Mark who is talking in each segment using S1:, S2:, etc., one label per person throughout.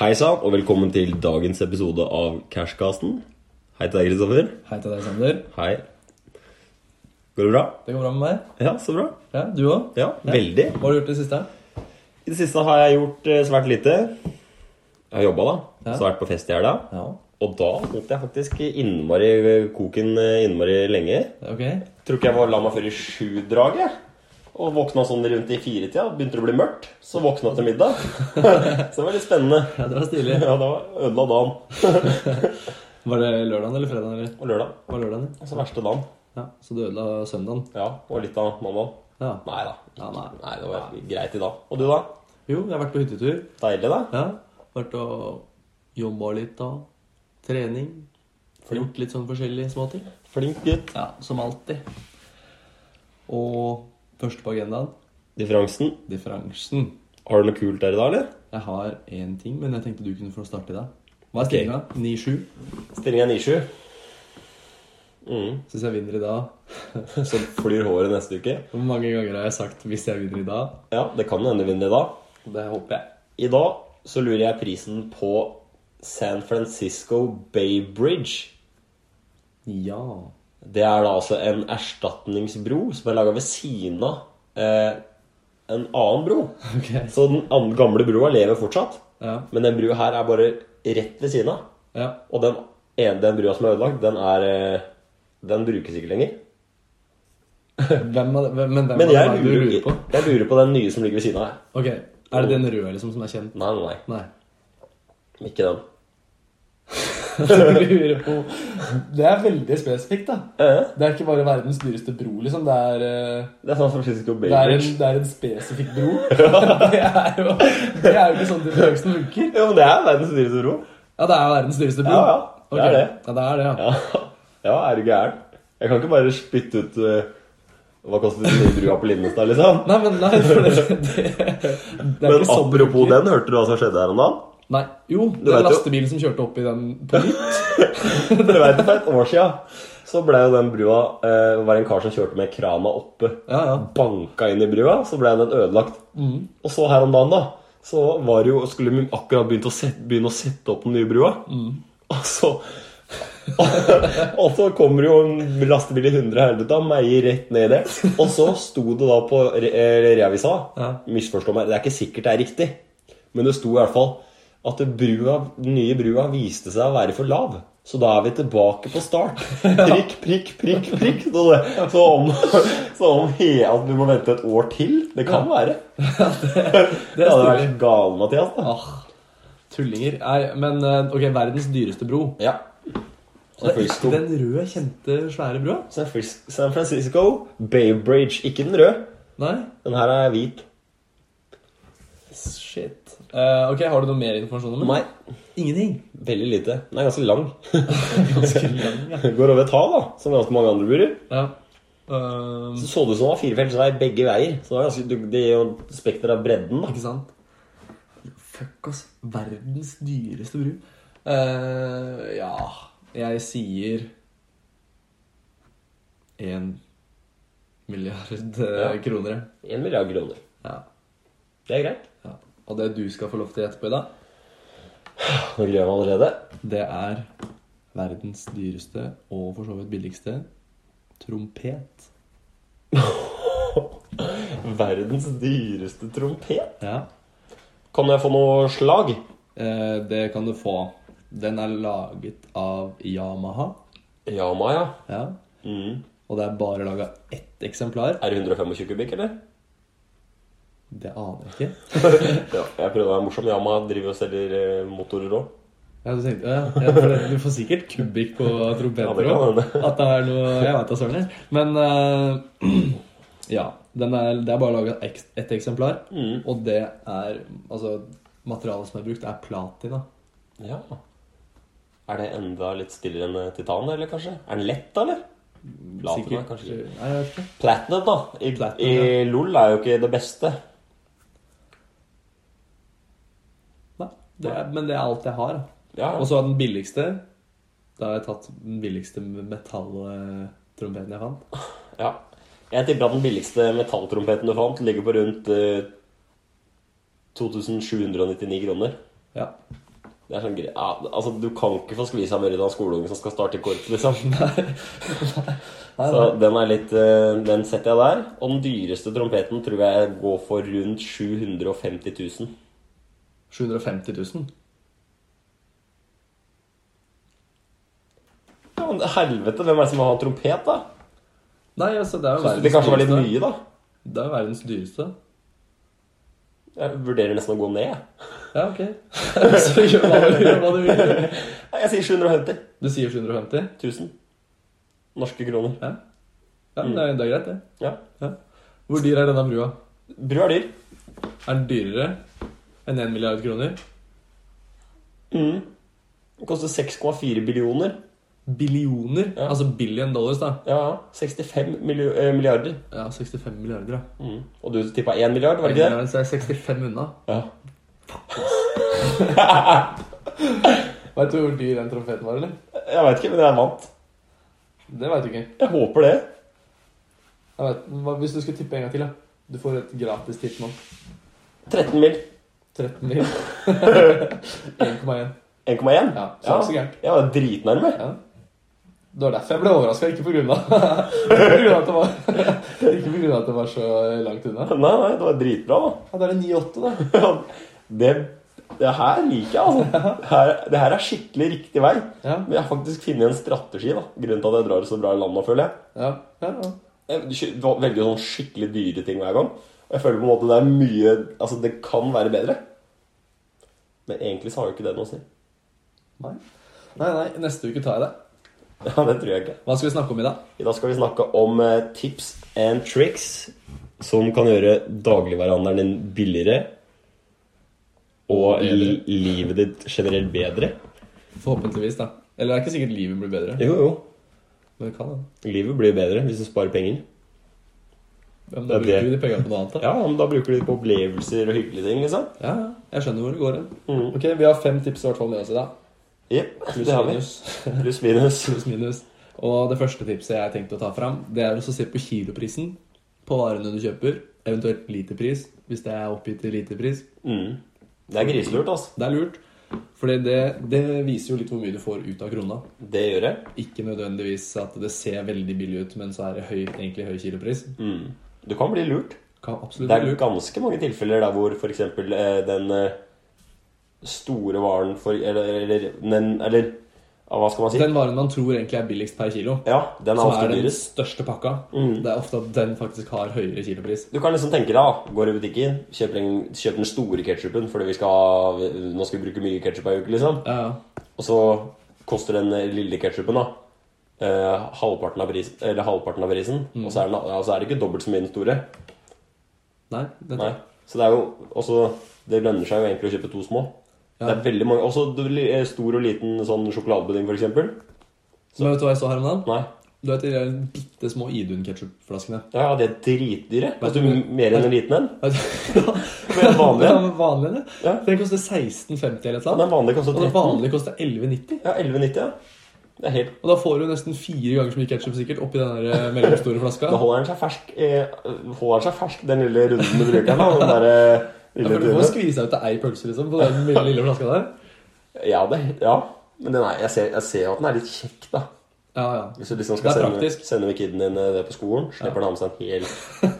S1: Hei sann, og velkommen til dagens episode av Cashcasten. Hei til deg, Kristoffer.
S2: Hei til deg, Sander.
S1: Hei. Går det bra?
S2: Det går bra med meg?
S1: Ja, så bra.
S2: Ja, du òg?
S1: Ja, veldig.
S2: Hva har du gjort i det siste?
S1: I det siste har jeg gjort eh, svært lite. Jeg har jobba, da.
S2: Ja.
S1: Så har jeg vært på fest i helga.
S2: Ja.
S1: Og da holdt jeg faktisk innmari koken eh, innmari lenge.
S2: Ok.
S1: Tror ikke jeg var la meg før i sju-draget. Og våkna sånn rundt i firetida. Begynte det å bli mørkt. Så våkna til middag. så det var litt spennende.
S2: Ja, det var stilig.
S1: Ja, da ødela dagen.
S2: Var det lørdagen eller fredagen? eller?
S1: Og lørdag.
S2: Det Var lørdagen?
S1: Altså verste dagen.
S2: Ja, Så du ødela søndagen?
S1: Ja, og litt av mandagen.
S2: Ja.
S1: Nei da.
S2: ja nei.
S1: Nei, det var greit i dag. Og du, da?
S2: Jo, jeg har vært på hyttetur.
S1: Deilig, da?
S2: Ja. Vært og jobba litt da. Trening. Gjort litt sånn forskjellige småting.
S1: Flink gutt.
S2: Ja, som alltid. Og først på agendaen
S1: Differansen.
S2: differansen.
S1: Har du noe kult der i dag, eller?
S2: Jeg har én ting, men jeg tenkte du kunne få starte i dag. Hva er stillinga? 9-7.
S1: Stillingen er 9-7. Mm.
S2: Syns jeg vinner i dag.
S1: Så flyr håret neste uke.
S2: Hvor mange ganger har jeg sagt 'hvis jeg vinner i dag'?
S1: Ja, det kan jo hende du vinner i dag.
S2: Det håper jeg.
S1: I dag så lurer jeg prisen på San Francisco Bay Bridge.
S2: Ja.
S1: Det er da altså en erstatningsbro som er laga ved siden av eh, en annen bro.
S2: Ok.
S1: Så den an- gamle broa lever fortsatt,
S2: Ja.
S1: men den brua her er bare rett ved siden av.
S2: ja.
S1: Og den, ene- den brua som er ødelagt, den er eh, Den brukes ikke lenger.
S2: Hvem er det, hvem, men hvem
S1: Men
S2: er det
S1: jeg
S2: du
S1: lurer,
S2: lurer på?
S1: jeg lurer på den nye som ligger ved siden av her.
S2: Ok, Er det den røde liksom som er kjent?
S1: Nei, nei,
S2: Nei.
S1: nei. Ikke den.
S2: Du lurer på Det er veldig spesifikt, da.
S1: Eh,
S2: Det er ikke bare verdens dyreste bro, liksom. Det er, eh,
S1: det er San Francisco Bay
S2: det er,
S1: Bridge.
S2: en, det er en spesifikk bro. Det er jo det er jo ikke sånn differansen funker.
S1: Jo, men det er verdens dyreste bro.
S2: Ja, det er verdens dyreste bro.
S1: Ja, ja. Det er
S2: Ok.
S1: det.
S2: Ja, det er det, ja.
S1: Ja, ja er du gæren? Jeg kan ikke bare spytte ut eh, Hva kostet den nye brua på Lindestad, liksom?
S2: Nei, men nei, for det, det, det er
S1: Men
S2: ikke sånn
S1: apropos
S2: funker.
S1: den, hørte du hva som skjedde her om dagen?
S2: Nei, jo,
S1: vet
S2: den
S1: jo.
S2: lastebilen som kjørte opp i den på nytt.
S1: Du vet, For et år sia så ble jo den brua eh, var det en kar som kjørte med krana oppe.
S2: Ja, Mm. ja.
S1: Banka inn i brua, så ble den ødelagt. Og så her om dagen, da, så var det jo, skulle vi akkurat begynt å sette, begynne å sette opp den nye brua.
S2: Mm.
S1: Og så og så kommer jo en lastebil i 100 helvete og meier rett ned der. Og så sto det da på re- eh, reavisa
S2: Ja.
S1: Misforstå meg, det er ikke sikkert det er riktig, men det sto i hvert fall at brua, den nye brua viste seg å være for lav. Så da er vi tilbake på start. Prikk, prikk, prikk, prikk. Så, det, så om, så om he, at vi må vente et år til Det kan være. Det hadde
S2: stilig.
S1: vært gal, Mathias. da
S2: Ah, tullinger. Nei, men eh, ok, verdens dyreste bro.
S1: Ja.
S2: Det er
S1: Selvfølgelig.
S2: ikke den røde, kjente, svære broa?
S1: San Fris- San Francisco, Bay Bridge. Ikke den røde.
S2: Nei?
S1: Den her er hvit.
S2: Shit. Eh, ok, Har du noe mer informasjon om den?
S1: Nei,
S2: Ingenting.
S1: veldig lite. Den er ganske lang.
S2: Ganske lang, ja.
S1: Går over et hav, da, som ganske mange andre burer.
S2: ja. Ehm,
S1: Så så det ut som det var firefelts vei begge veier. Så det er ganske, du- det er jo spekter av bredden, da.
S2: ikke sant? Fuck, ass. Verdens dyreste bru. Eh, ja Jeg sier én milliard eh,
S1: Ja.
S2: kroner, jeg.
S1: En milliard kroner.
S2: ja.
S1: Det er greit.
S2: ja. Og det du skal få lov til å gjette på i dag,
S1: Nå gruer jeg meg allerede.
S2: Det er verdens dyreste og for så vidt billigste trompet.
S1: Verdens dyreste trompet.
S2: Ja.
S1: Kan jeg få noe slag?
S2: Eh, det kan du få. Den er laget av Yamaha.
S1: Ja, Maja.
S2: Ja.
S1: Mm.
S2: Og det er bare laga ett eksemplar.
S1: Er det 125 kubikk, eller?
S2: Det aner jeg ikke.
S1: Ja, jeg prøvde å være morsom. Yama driver og selger eh, motorer òg.
S2: Ja, du, tenkte, ja, ja, for det- du får sikkert kubikk på
S1: Ja,
S2: trompeter
S1: det kan
S2: òg.
S1: hende.
S2: At det er noe Jeg veit da søren. jeg. Men eh, ja. Den er, det er bare laga ett eksemplar.
S1: Mm.
S2: Og det er Altså, materialet som er brukt, er platina.
S1: Ja. Er det enda litt stillere enn eh, titan, eller kanskje? Er den lett, da, eller? Platina,
S2: Sikkert-
S1: kanskje.
S2: Nei, jeg vet ikke.
S1: Platinum, da. I,
S2: Platinum,
S1: i LOL er jo ikke det beste.
S2: Nei, det er, men det er alt jeg har. da.
S1: Ja,
S2: Og så er den billigste Da har jeg tatt den billigste metalltrompeten jeg fant.
S1: ja. Jeg tipper at den billigste metalltrompeten du fant, ligger på rundt eh, 2799 kroner.
S2: Ja.
S1: Det er sånn grei, ja, altså, Du kan ikke få skvisa mer ut av en skoleunge som skal starte i korps, liksom.
S2: Nei,
S1: Så den er litt eh, Den setter jeg der. Og den dyreste trompeten tror jeg går for rundt 750 000.
S2: 750 000.
S1: Ja, men helvete, hvem er det som har trompet, da?
S2: Nei, altså, det er jo
S1: Syns du det kanskje var litt mye, da?
S2: Det er jo verdens dyreste.
S1: Jeg vurderer nesten å gå ned. jeg.
S2: Ja, ok. Så gjør hva du, gjør hva du vil.
S1: Nei, Jeg sier 750
S2: Du sier 750?
S1: 000. Norske kroner.
S2: Ja, ja men det, er, det er greit, det.
S1: Ja.
S2: Ja. Hvor dyr er denne brua?
S1: Bru er dyr.
S2: Er den dyrere enn 1 milliard kroner?
S1: Mm. Den koster 6,4 billioner.
S2: Billioner?
S1: Ja.
S2: Altså billion dollars, da.
S1: Ja, ja. 65 milli- eh, milliarder.
S2: Ja, 65 milliarder, ja.
S1: Mm. Og du tippa 1 milliard, var det ikke det?
S2: Så er jeg 65 unna.
S1: Ja.
S2: Veit du hvor dyr den trompeten var, eller?
S1: Jeg veit ikke, men jeg vant.
S2: Det veit du ikke.
S1: Jeg håper det.
S2: Jeg vet, hva, hvis du skulle tippe en gang til, da. Du får et gratis tipp nå.
S1: 13 mil.
S2: 13 mil. 1,1.
S1: 1,1?
S2: Ja, så er det så gærent.
S1: Jeg var dritnærme.
S2: Ja. Det var derfor jeg ble overraska, ikke på grunn av Ikke på grunn av at det var, ikke på grunn av at det var så langt unna.
S1: Nei, nei, det var dritbra,
S2: Ja, Da er det 9,8, da.
S1: da. Det, det her liker jeg, altså. Her, det her er skikkelig riktig vei.
S2: Ja.
S1: Men jeg har faktisk funnet en strategi, da. Grunnen til at jeg drar så bra i landet, føler jeg.
S2: Ja, ja, ja.
S1: Jeg sk- velger jo sånn skikkelig dyre ting hver gang. Og jeg føler på en måte det er mye Altså, det kan være bedre. Men egentlig så har jo ikke det noe å si.
S2: Nei. nei, nei, neste uke tar jeg det.
S1: Ja, det tror jeg ikke.
S2: Hva skal vi snakke om i dag?
S1: I dag skal vi snakke om eh, tips and tricks som kan gjøre dagligvarehandelen din billigere. Og li
S2: Bedre.
S1: livet ditt generelt bedre.
S2: Forhåpentligvis, da. Eller det er ikke sikkert livet blir bedre.
S1: Jo, jo.
S2: Men det kan hende.
S1: Livet blir bedre hvis du sparer penger.
S2: Ja, men da
S1: Det er
S2: bruker vi de pengene på noe annet, da.
S1: Ja, men Da bruker du det på opplevelser og hyggelige ting. liksom
S2: Ja, ja. Jeg skjønner hvor det går hen. Ok, vi har fem tips i hvert fall med oss i dag.
S1: Jepp,
S2: Pluss
S1: Mm. det har vi.
S2: minus.
S1: Pluss minus.
S2: Pluss minus. Og det første tipset jeg tenkte å ta fram, det er også å se på kiloprisen på varene du kjøper. Eventuelt literpris, hvis det er oppgitt til literpris.
S1: Mm. Det er griselurt, altså.
S2: Det er lurt, for det, det viser jo litt hvor mye du får ut av krona.
S1: Det gjør jeg.
S2: Ikke nødvendigvis at det ser veldig billig ut, men så er det høy, egentlig høy kilopris.
S1: Mm. Du kan bli lurt.
S2: Kan absolutt
S1: Det er
S2: bli lurt.
S1: ganske mange tilfeller der hvor f.eks. den eh, store varen for Eller, eller, den, eller ja, hva skal man si?
S2: Den varen man tror egentlig er billigst per kilo,
S1: ja, den er
S2: som
S1: ofte
S2: er den
S1: dyrest.
S2: største pakka,
S1: Mm.
S2: det er ofte at den faktisk har høyere kilopris.
S1: Du kan liksom tenke deg, da, går i butikken, kjøper, en, kjøper den store ketsjupen fordi vi skal ha, nå skal vi bruke mye ketsjup ei uke, liksom.
S2: Ja, ja.
S1: Og så koster den eh, lille ketsjupen, da. eh, halvparten, av prisen, eller halvparten av prisen.
S2: Mm.
S1: Og så er, den, ja, så er det ikke dobbelt så mye den store.
S2: Nei, det
S1: Nei. Så det er jo også Det lønner seg jo egentlig å kjøpe to små.
S2: Ja.
S1: Det er veldig mange Også du- li- eh, stor og liten sånn sjokoladepudding, for eksempel.
S2: Men vet du hva jeg så her om dagen?
S1: Nei.
S2: Du vet de der bitte små Idun-ketchup-flaskene?
S1: Ja, ja, de er dritdyre.
S2: Vet
S1: Vet
S2: du-
S1: du mer enn en liten en? vanlige?
S2: Mer Ja, men vanlige.
S1: Ja.
S2: Den koster 16,50 eller et
S1: Ja,
S2: eller
S1: den
S2: annet.
S1: vanlige koster
S2: Og den
S1: 13.
S2: vanlige koster 11,90.
S1: Ja, 11,90. Ja. Det er helt
S2: Og da får du nesten fire ganger så mye ketsjup sikkert oppi den der eh, mellomstore flaska.
S1: Da holder den seg fersk, eh, holder den seg fersk den lille runden du bruker den. da, Den der, eh,
S2: Ja,
S1: lille
S2: for du får
S1: turen.
S2: skvise ut til ei pølse liksom, på den lille, lille flaska der.
S1: ja, det, ja, men den er, jeg, ser, jeg ser jo at den er litt kjekk, da.
S2: Ja, ja.
S1: Hvis du liksom
S2: Det
S1: skal
S2: er
S1: sende,
S2: praktisk.
S1: sende med kiden din eh, det på skolen, slipper den å ha med seg en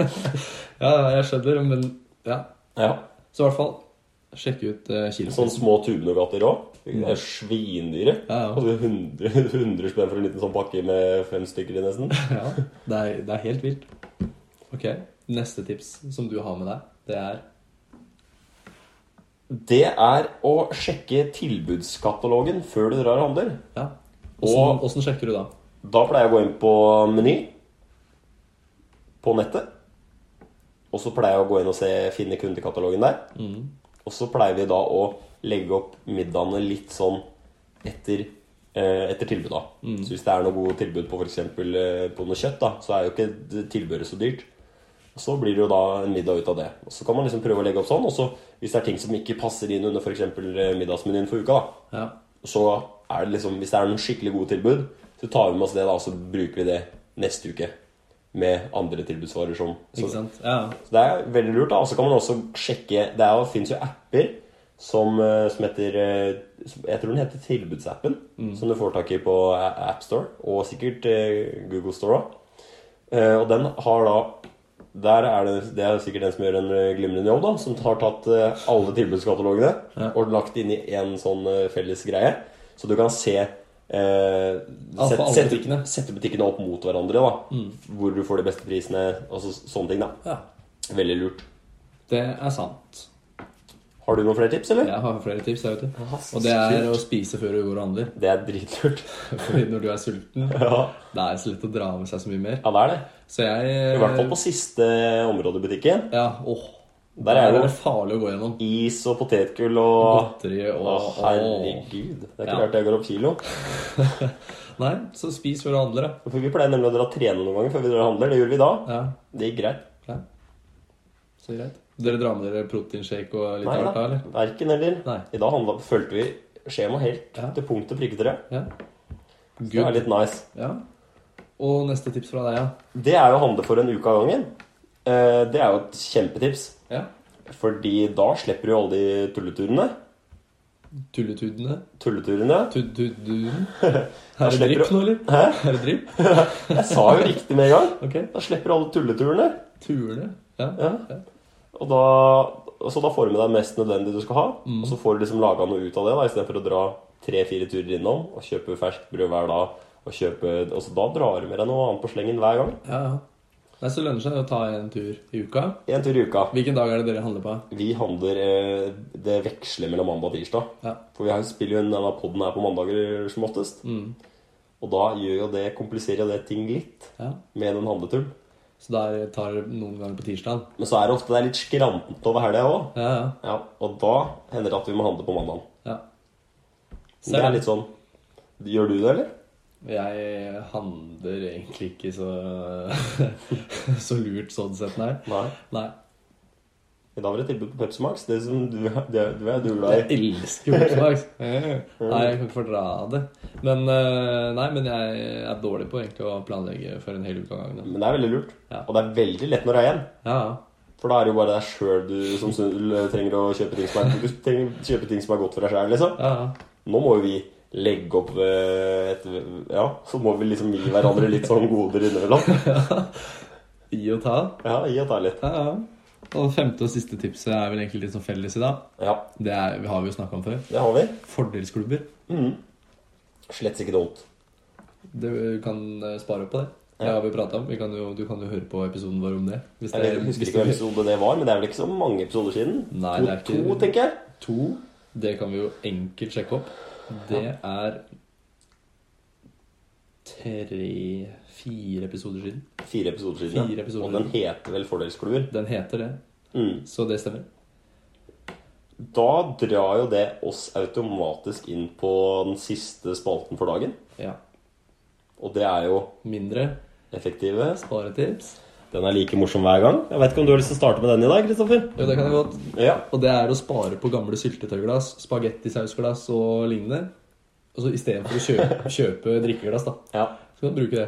S1: hel
S2: ja, ja, jeg skjønner, men ja.
S1: Ja.
S2: Så i hvert fall, sjekk ut uh, kiloen.
S1: Sånne små tubenogater òg. Det er svindyre.
S2: Ja, ja.
S1: Og det er 100, 100 spenn for en liten sånn pakke med fem stykker i, nesten.
S2: Ja, det er, det er helt vilt. Ok, neste tips som du har med deg, det er
S1: Det er å sjekke tilbudskatalogen før du drar og handler.
S2: ja.
S1: Og-
S2: Åssen sjekker du da?
S1: Da pleier jeg å gå inn på Meny på nettet. Og så pleier jeg å gå inn og se, finne kundekatalogen der. Og så pleier vi da å legge opp middagene litt sånn etter, eh, etter tilbuda. Så hvis det er noe gode tilbud på f.eks. Eh, på noe kjøtt, da, så er jo ikke det tilbøret så dyrt. Og Så blir det jo da en middag ut av det. Og Så kan man liksom prøve å legge opp sånn. Og så hvis det er ting som ikke passer inn under f.eks. middagsmenyen for uka, da,
S2: Ja.
S1: så er det liksom Hvis det er noen skikkelig gode tilbud, så tar vi med oss det da, og så bruker vi det neste uke med andre tilbudsvarer som
S2: Ikke sant? Ja.
S1: så det er veldig lurt. da, og så kan man også sjekke Det er jo- finnes jo apper som, eh, som heter eh, som- Jeg tror den heter Tilbudsappen.
S2: Mm.
S1: Som du får tak i på A- AppStore, og sikkert eh, Google Store òg. Og den har da der er det, det er sikkert den som gjør en eh, glimrende jobb, da, som har tatt eh, alle tilbudskatalogene og lagt inn i en sånn eh, felles greie. Så du kan se eh,
S2: for
S1: set,
S2: Ah, alle
S1: sette,
S2: butikkene. Mm.
S1: sette butikkene opp mot hverandre. da Hvor du får de beste prisene og så, sånne ting. da
S2: Ja,
S1: Veldig lurt.
S2: det er sant.
S1: Har du noen flere tips, eller?
S2: Jeg har flere tips. jeg vet du.
S1: Ja,
S2: Og det er
S1: kult.
S2: å spise før du går og handler.
S1: Det er dritlurt.
S2: Fordi når du er sulten,
S1: ja.
S2: det er så lett å dra med seg så mye mer.
S1: ja, det er det.
S2: Så jeg
S1: I hvert
S2: Eh.
S1: fall på siste område i butikken.
S2: Ja, åh.
S1: Der er det jo-
S2: det farlig å gå gjennom.
S1: Is og potetgull og
S2: Godteri og
S1: Å,
S2: åh.
S1: herregud. Det er ikke
S2: Ja.
S1: rart jeg går opp kilo.
S2: Nei, så spis før du handler, da.
S1: For Vi pleier nemlig å dra og trene noen ganger før vi drar og handler. Det gjorde vi da.
S2: Ja,
S1: Det gikk greit.
S2: ja. Så greit. Dere drar med dere proteinshake og litt
S1: Nei
S2: av hvert, da,
S1: da.
S2: eller?
S1: Verken eller.
S2: Nei.
S1: I dag handla, fulgte vi skjema helt
S2: Ja.
S1: til punkt og prikke tre.
S2: Ja.
S1: Det er
S2: Good.
S1: litt nice.
S2: Ja. Og neste tips fra deg, ja.
S1: Det er jo å handle for en uke av gangen. Eh, Det er jo et kjempetips.
S2: ja.
S1: Fordi da slipper du alle de tulleturene.
S2: Tulletudene.
S1: Tulleturene.
S2: Tuddududen.
S1: Da
S2: Er det
S1: slipper
S2: drypp
S1: du-
S2: nå, eller?
S1: Hæ?
S2: Er det drypp?
S1: Jeg sa jo riktig med en gang.
S2: Ok.
S1: Da slipper du alle tulleturene.
S2: Turene. Ja.
S1: Ja. Og da, så da får du med deg mest nødvendig du skal ha. Og så får du liksom laga noe ut av det, da, istedenfor å dra tre-fire turer innom og kjøpe ferskt brød hver dag. Og, kjøpe, og så da drar du med deg noe annet på slengen hver gang.
S2: Ja, ja. Nei, så lønner det seg å ta en tur i uka.
S1: Én tur i uka.
S2: Hvilken dag er det dere handler på?
S1: Vi handler eh, Det veksler mellom mandag og tirsdag.
S2: Ja.
S1: For vi har- spiller jo inn denne poden her på mandager som oftest.
S2: Mm.
S1: Og da gjør jo det, kompliserer jo det ting litt
S2: ja.
S1: med den handleturen.
S2: Så der tar dere noen ganger på tirsdag.
S1: Men så er det ofte det er litt skrantete over helga òg.
S2: Ja, ja.
S1: Ja, og da hender det at vi må handle på mandagen.
S2: ja.
S1: Det er litt sånn Gjør du det, eller?
S2: Jeg handler egentlig ikke så, så lurt sånn sett, nei.
S1: Nei.
S2: Nei.
S1: I dag var det et tilbud på Pepsi Max. Det som du, det, du er du
S2: Jeg
S1: glad i.
S2: elsker Olsmarks. Nei, jeg kan ikke fordra det. Men, eh, nei, men jeg er dårlig på egentlig å planlegge for en hel uke av gangen. da.
S1: Men det er veldig lurt.
S2: Ja.
S1: Og det er veldig lett når det er igjen.
S2: Ja, ja.
S1: For da er det jo bare deg sjøl du som syns- trenger å kjøpe ting som er, du trenger å kjøpe ting som er godt for deg sjøl, liksom.
S2: ja, ja.
S1: Nå må jo vi legge opp eh, et Ja, så må vi liksom gi hverandre litt sånn goder innimellom.
S2: Gi og ta.
S1: Ja, gi og ta litt.
S2: Ja, ja. Og femte og siste tipset er vel egentlig litt sånn felles i dag.
S1: Ja,
S2: Det er, vi har vi jo snakka om før.
S1: det har vi.
S2: Fordelsklubber.
S1: Mhm. Slett ikke dumt.
S2: Du kan eh, spare opp på det. Det har vi prata om. Vi kan jo, du kan jo høre på episoden vår om det. Hvis det,
S1: Jeg husker
S2: hvis
S1: ikke hvilken
S2: du,
S1: episode det var, men det er vel ikke så mange episoder siden?
S2: Nei,
S1: to,
S2: det er ikke-
S1: to, tenker jeg.
S2: to, det kan vi jo enkelt sjekke opp. Det er tre-fire episoder siden.
S1: Fire episoder siden. ja.
S2: Fire episoder.
S1: Og den heter vel Fordelsklubber.
S2: Den heter det,
S1: Mm.
S2: så det stemmer.
S1: Da drar jo det oss automatisk inn på den siste spalten for dagen.
S2: Ja.
S1: Og det er jo
S2: Mindre
S1: effektive.
S2: sparetips.
S1: Den er like morsom hver gang. Jeg vet ikke om du har lyst til å starte med den i dag, Kristoffer?
S2: Jo, det kan jeg godt.
S1: Ja.
S2: Og det er å spare på gamle syltetøyglass, spagettisausglass og lignende. Altså, Og så Istedenfor å kjøpe, kjøpe drikkeglass, da.
S1: ja.
S2: Så kan du bruke det.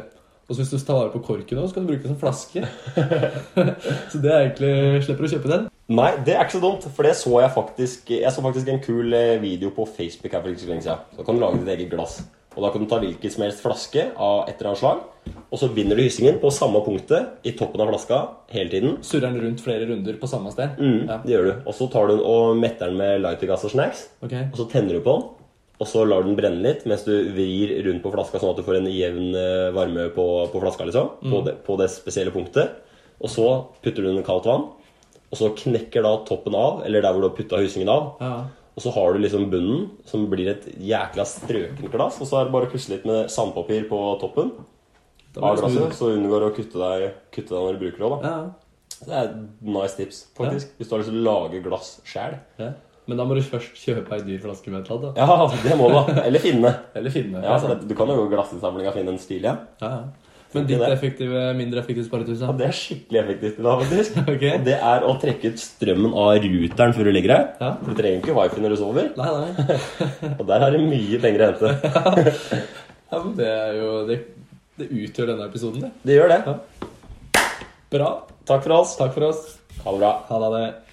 S2: Og så hvis du tar vare på korken òg, så kan du bruke det som flaske. så det er egentlig Slipper å kjøpe den.
S1: Nei, det er ikke så dumt, for det så jeg faktisk Jeg så faktisk en kul eh, video på Facebook her for ikke så lenge siden. Da kan du lage ditt eget glass. Og da kan du ta hvilken som helst flaske av et eller annet slag, og så binder du hyssingen på samme punktet i toppen av flaska hele tiden.
S2: Surrer den rundt flere runder på samme sted.
S1: Mm,
S2: Ja.
S1: Det gjør du. Og så tar du den og metter den med lightergass og snacks.
S2: Ok.
S1: Og så tenner du på den, og så lar den brenne litt mens du vrir rundt på flaska, sånn at du får en jevn eh, varme på, på flaska, liksom. På, det, på det spesielle punktet. Og så putter du den i kaldt vann, og så knekker da toppen av, eller der hvor du har putta hysingen av.
S2: Ja.
S1: Og så har du liksom bunnen, som blir et jækla strøkent glass. Og så er det bare å pusse litt med sandpapir på toppen
S2: Da
S1: av
S2: blir det
S1: glasset,
S2: smooth.
S1: så du unngår å kutte deg, kutte deg når du bruker det. da.
S2: Ja.
S1: Det er et nice tips, faktisk. Hvis du har lyst til å lage glass sjæl.
S2: ja. Men da må du først kjøpe ei dyr flaske med et eller annet. da.
S1: Ja, det må du, da. Eller finne.
S2: Eller finne.
S1: Ja, for
S2: sant?
S1: det, du kan jo gå glassinnsamlinga og finne en stil igjen.
S2: ja, ja. Men ditt
S1: Det der.
S2: effektive, mindre effektive sparetus,
S1: Ja,
S2: da?
S1: Det er skikkelig effektivt i dag, faktisk.
S2: Ok.
S1: Og det er å trekke ut strømmen av ruteren før du legger deg.
S2: Ja.
S1: For Du trenger ikke wifi når du sover.
S2: Nei, nei.
S1: Og der er det mye penger å hente.
S2: Ja, men det er jo Det, det utgjør denne episoden, det.
S1: Det gjør det.
S2: Bra.
S1: Takk for oss.
S2: Takk for oss.
S1: Ha det bra.
S2: Ha det.